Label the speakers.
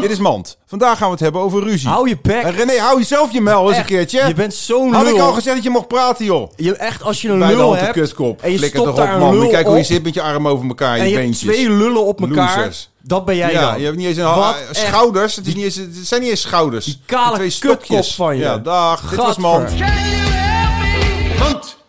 Speaker 1: Dit is Mand. Vandaag gaan we het hebben over ruzie.
Speaker 2: Hou je bek.
Speaker 1: En Eh, René, hou jezelf je mel eens een
Speaker 2: Echt,
Speaker 1: keertje.
Speaker 2: Je bent zo'n
Speaker 1: Had ik
Speaker 2: lul.
Speaker 1: al gezegd dat je mocht praten, joh.
Speaker 2: je, echt, als je een
Speaker 1: Bij de
Speaker 2: lul
Speaker 1: hand de
Speaker 2: hebt
Speaker 1: kutkop.
Speaker 2: en je
Speaker 1: Flikker
Speaker 2: stopt
Speaker 1: toch
Speaker 2: daar
Speaker 1: op,
Speaker 2: een
Speaker 1: man. Moet
Speaker 2: lul
Speaker 1: je kijken hoe je
Speaker 2: op.
Speaker 1: zit met je armen over elkaar en
Speaker 2: en
Speaker 1: je
Speaker 2: je hebt
Speaker 1: beentjes.
Speaker 2: twee lullen op elkaar,
Speaker 1: Losers.
Speaker 2: dat ben jij
Speaker 1: ja,
Speaker 2: dan.
Speaker 1: je hebt niet eens een
Speaker 2: Wat
Speaker 1: eh,
Speaker 2: echt.
Speaker 1: schouders. Het, is niet eens, het zijn niet eens schouders.
Speaker 2: kale
Speaker 1: twee stokjes.
Speaker 2: kutkop van je.
Speaker 1: Ja, dag. Dit was
Speaker 2: Gadver.
Speaker 1: Mand.
Speaker 3: Can you help me?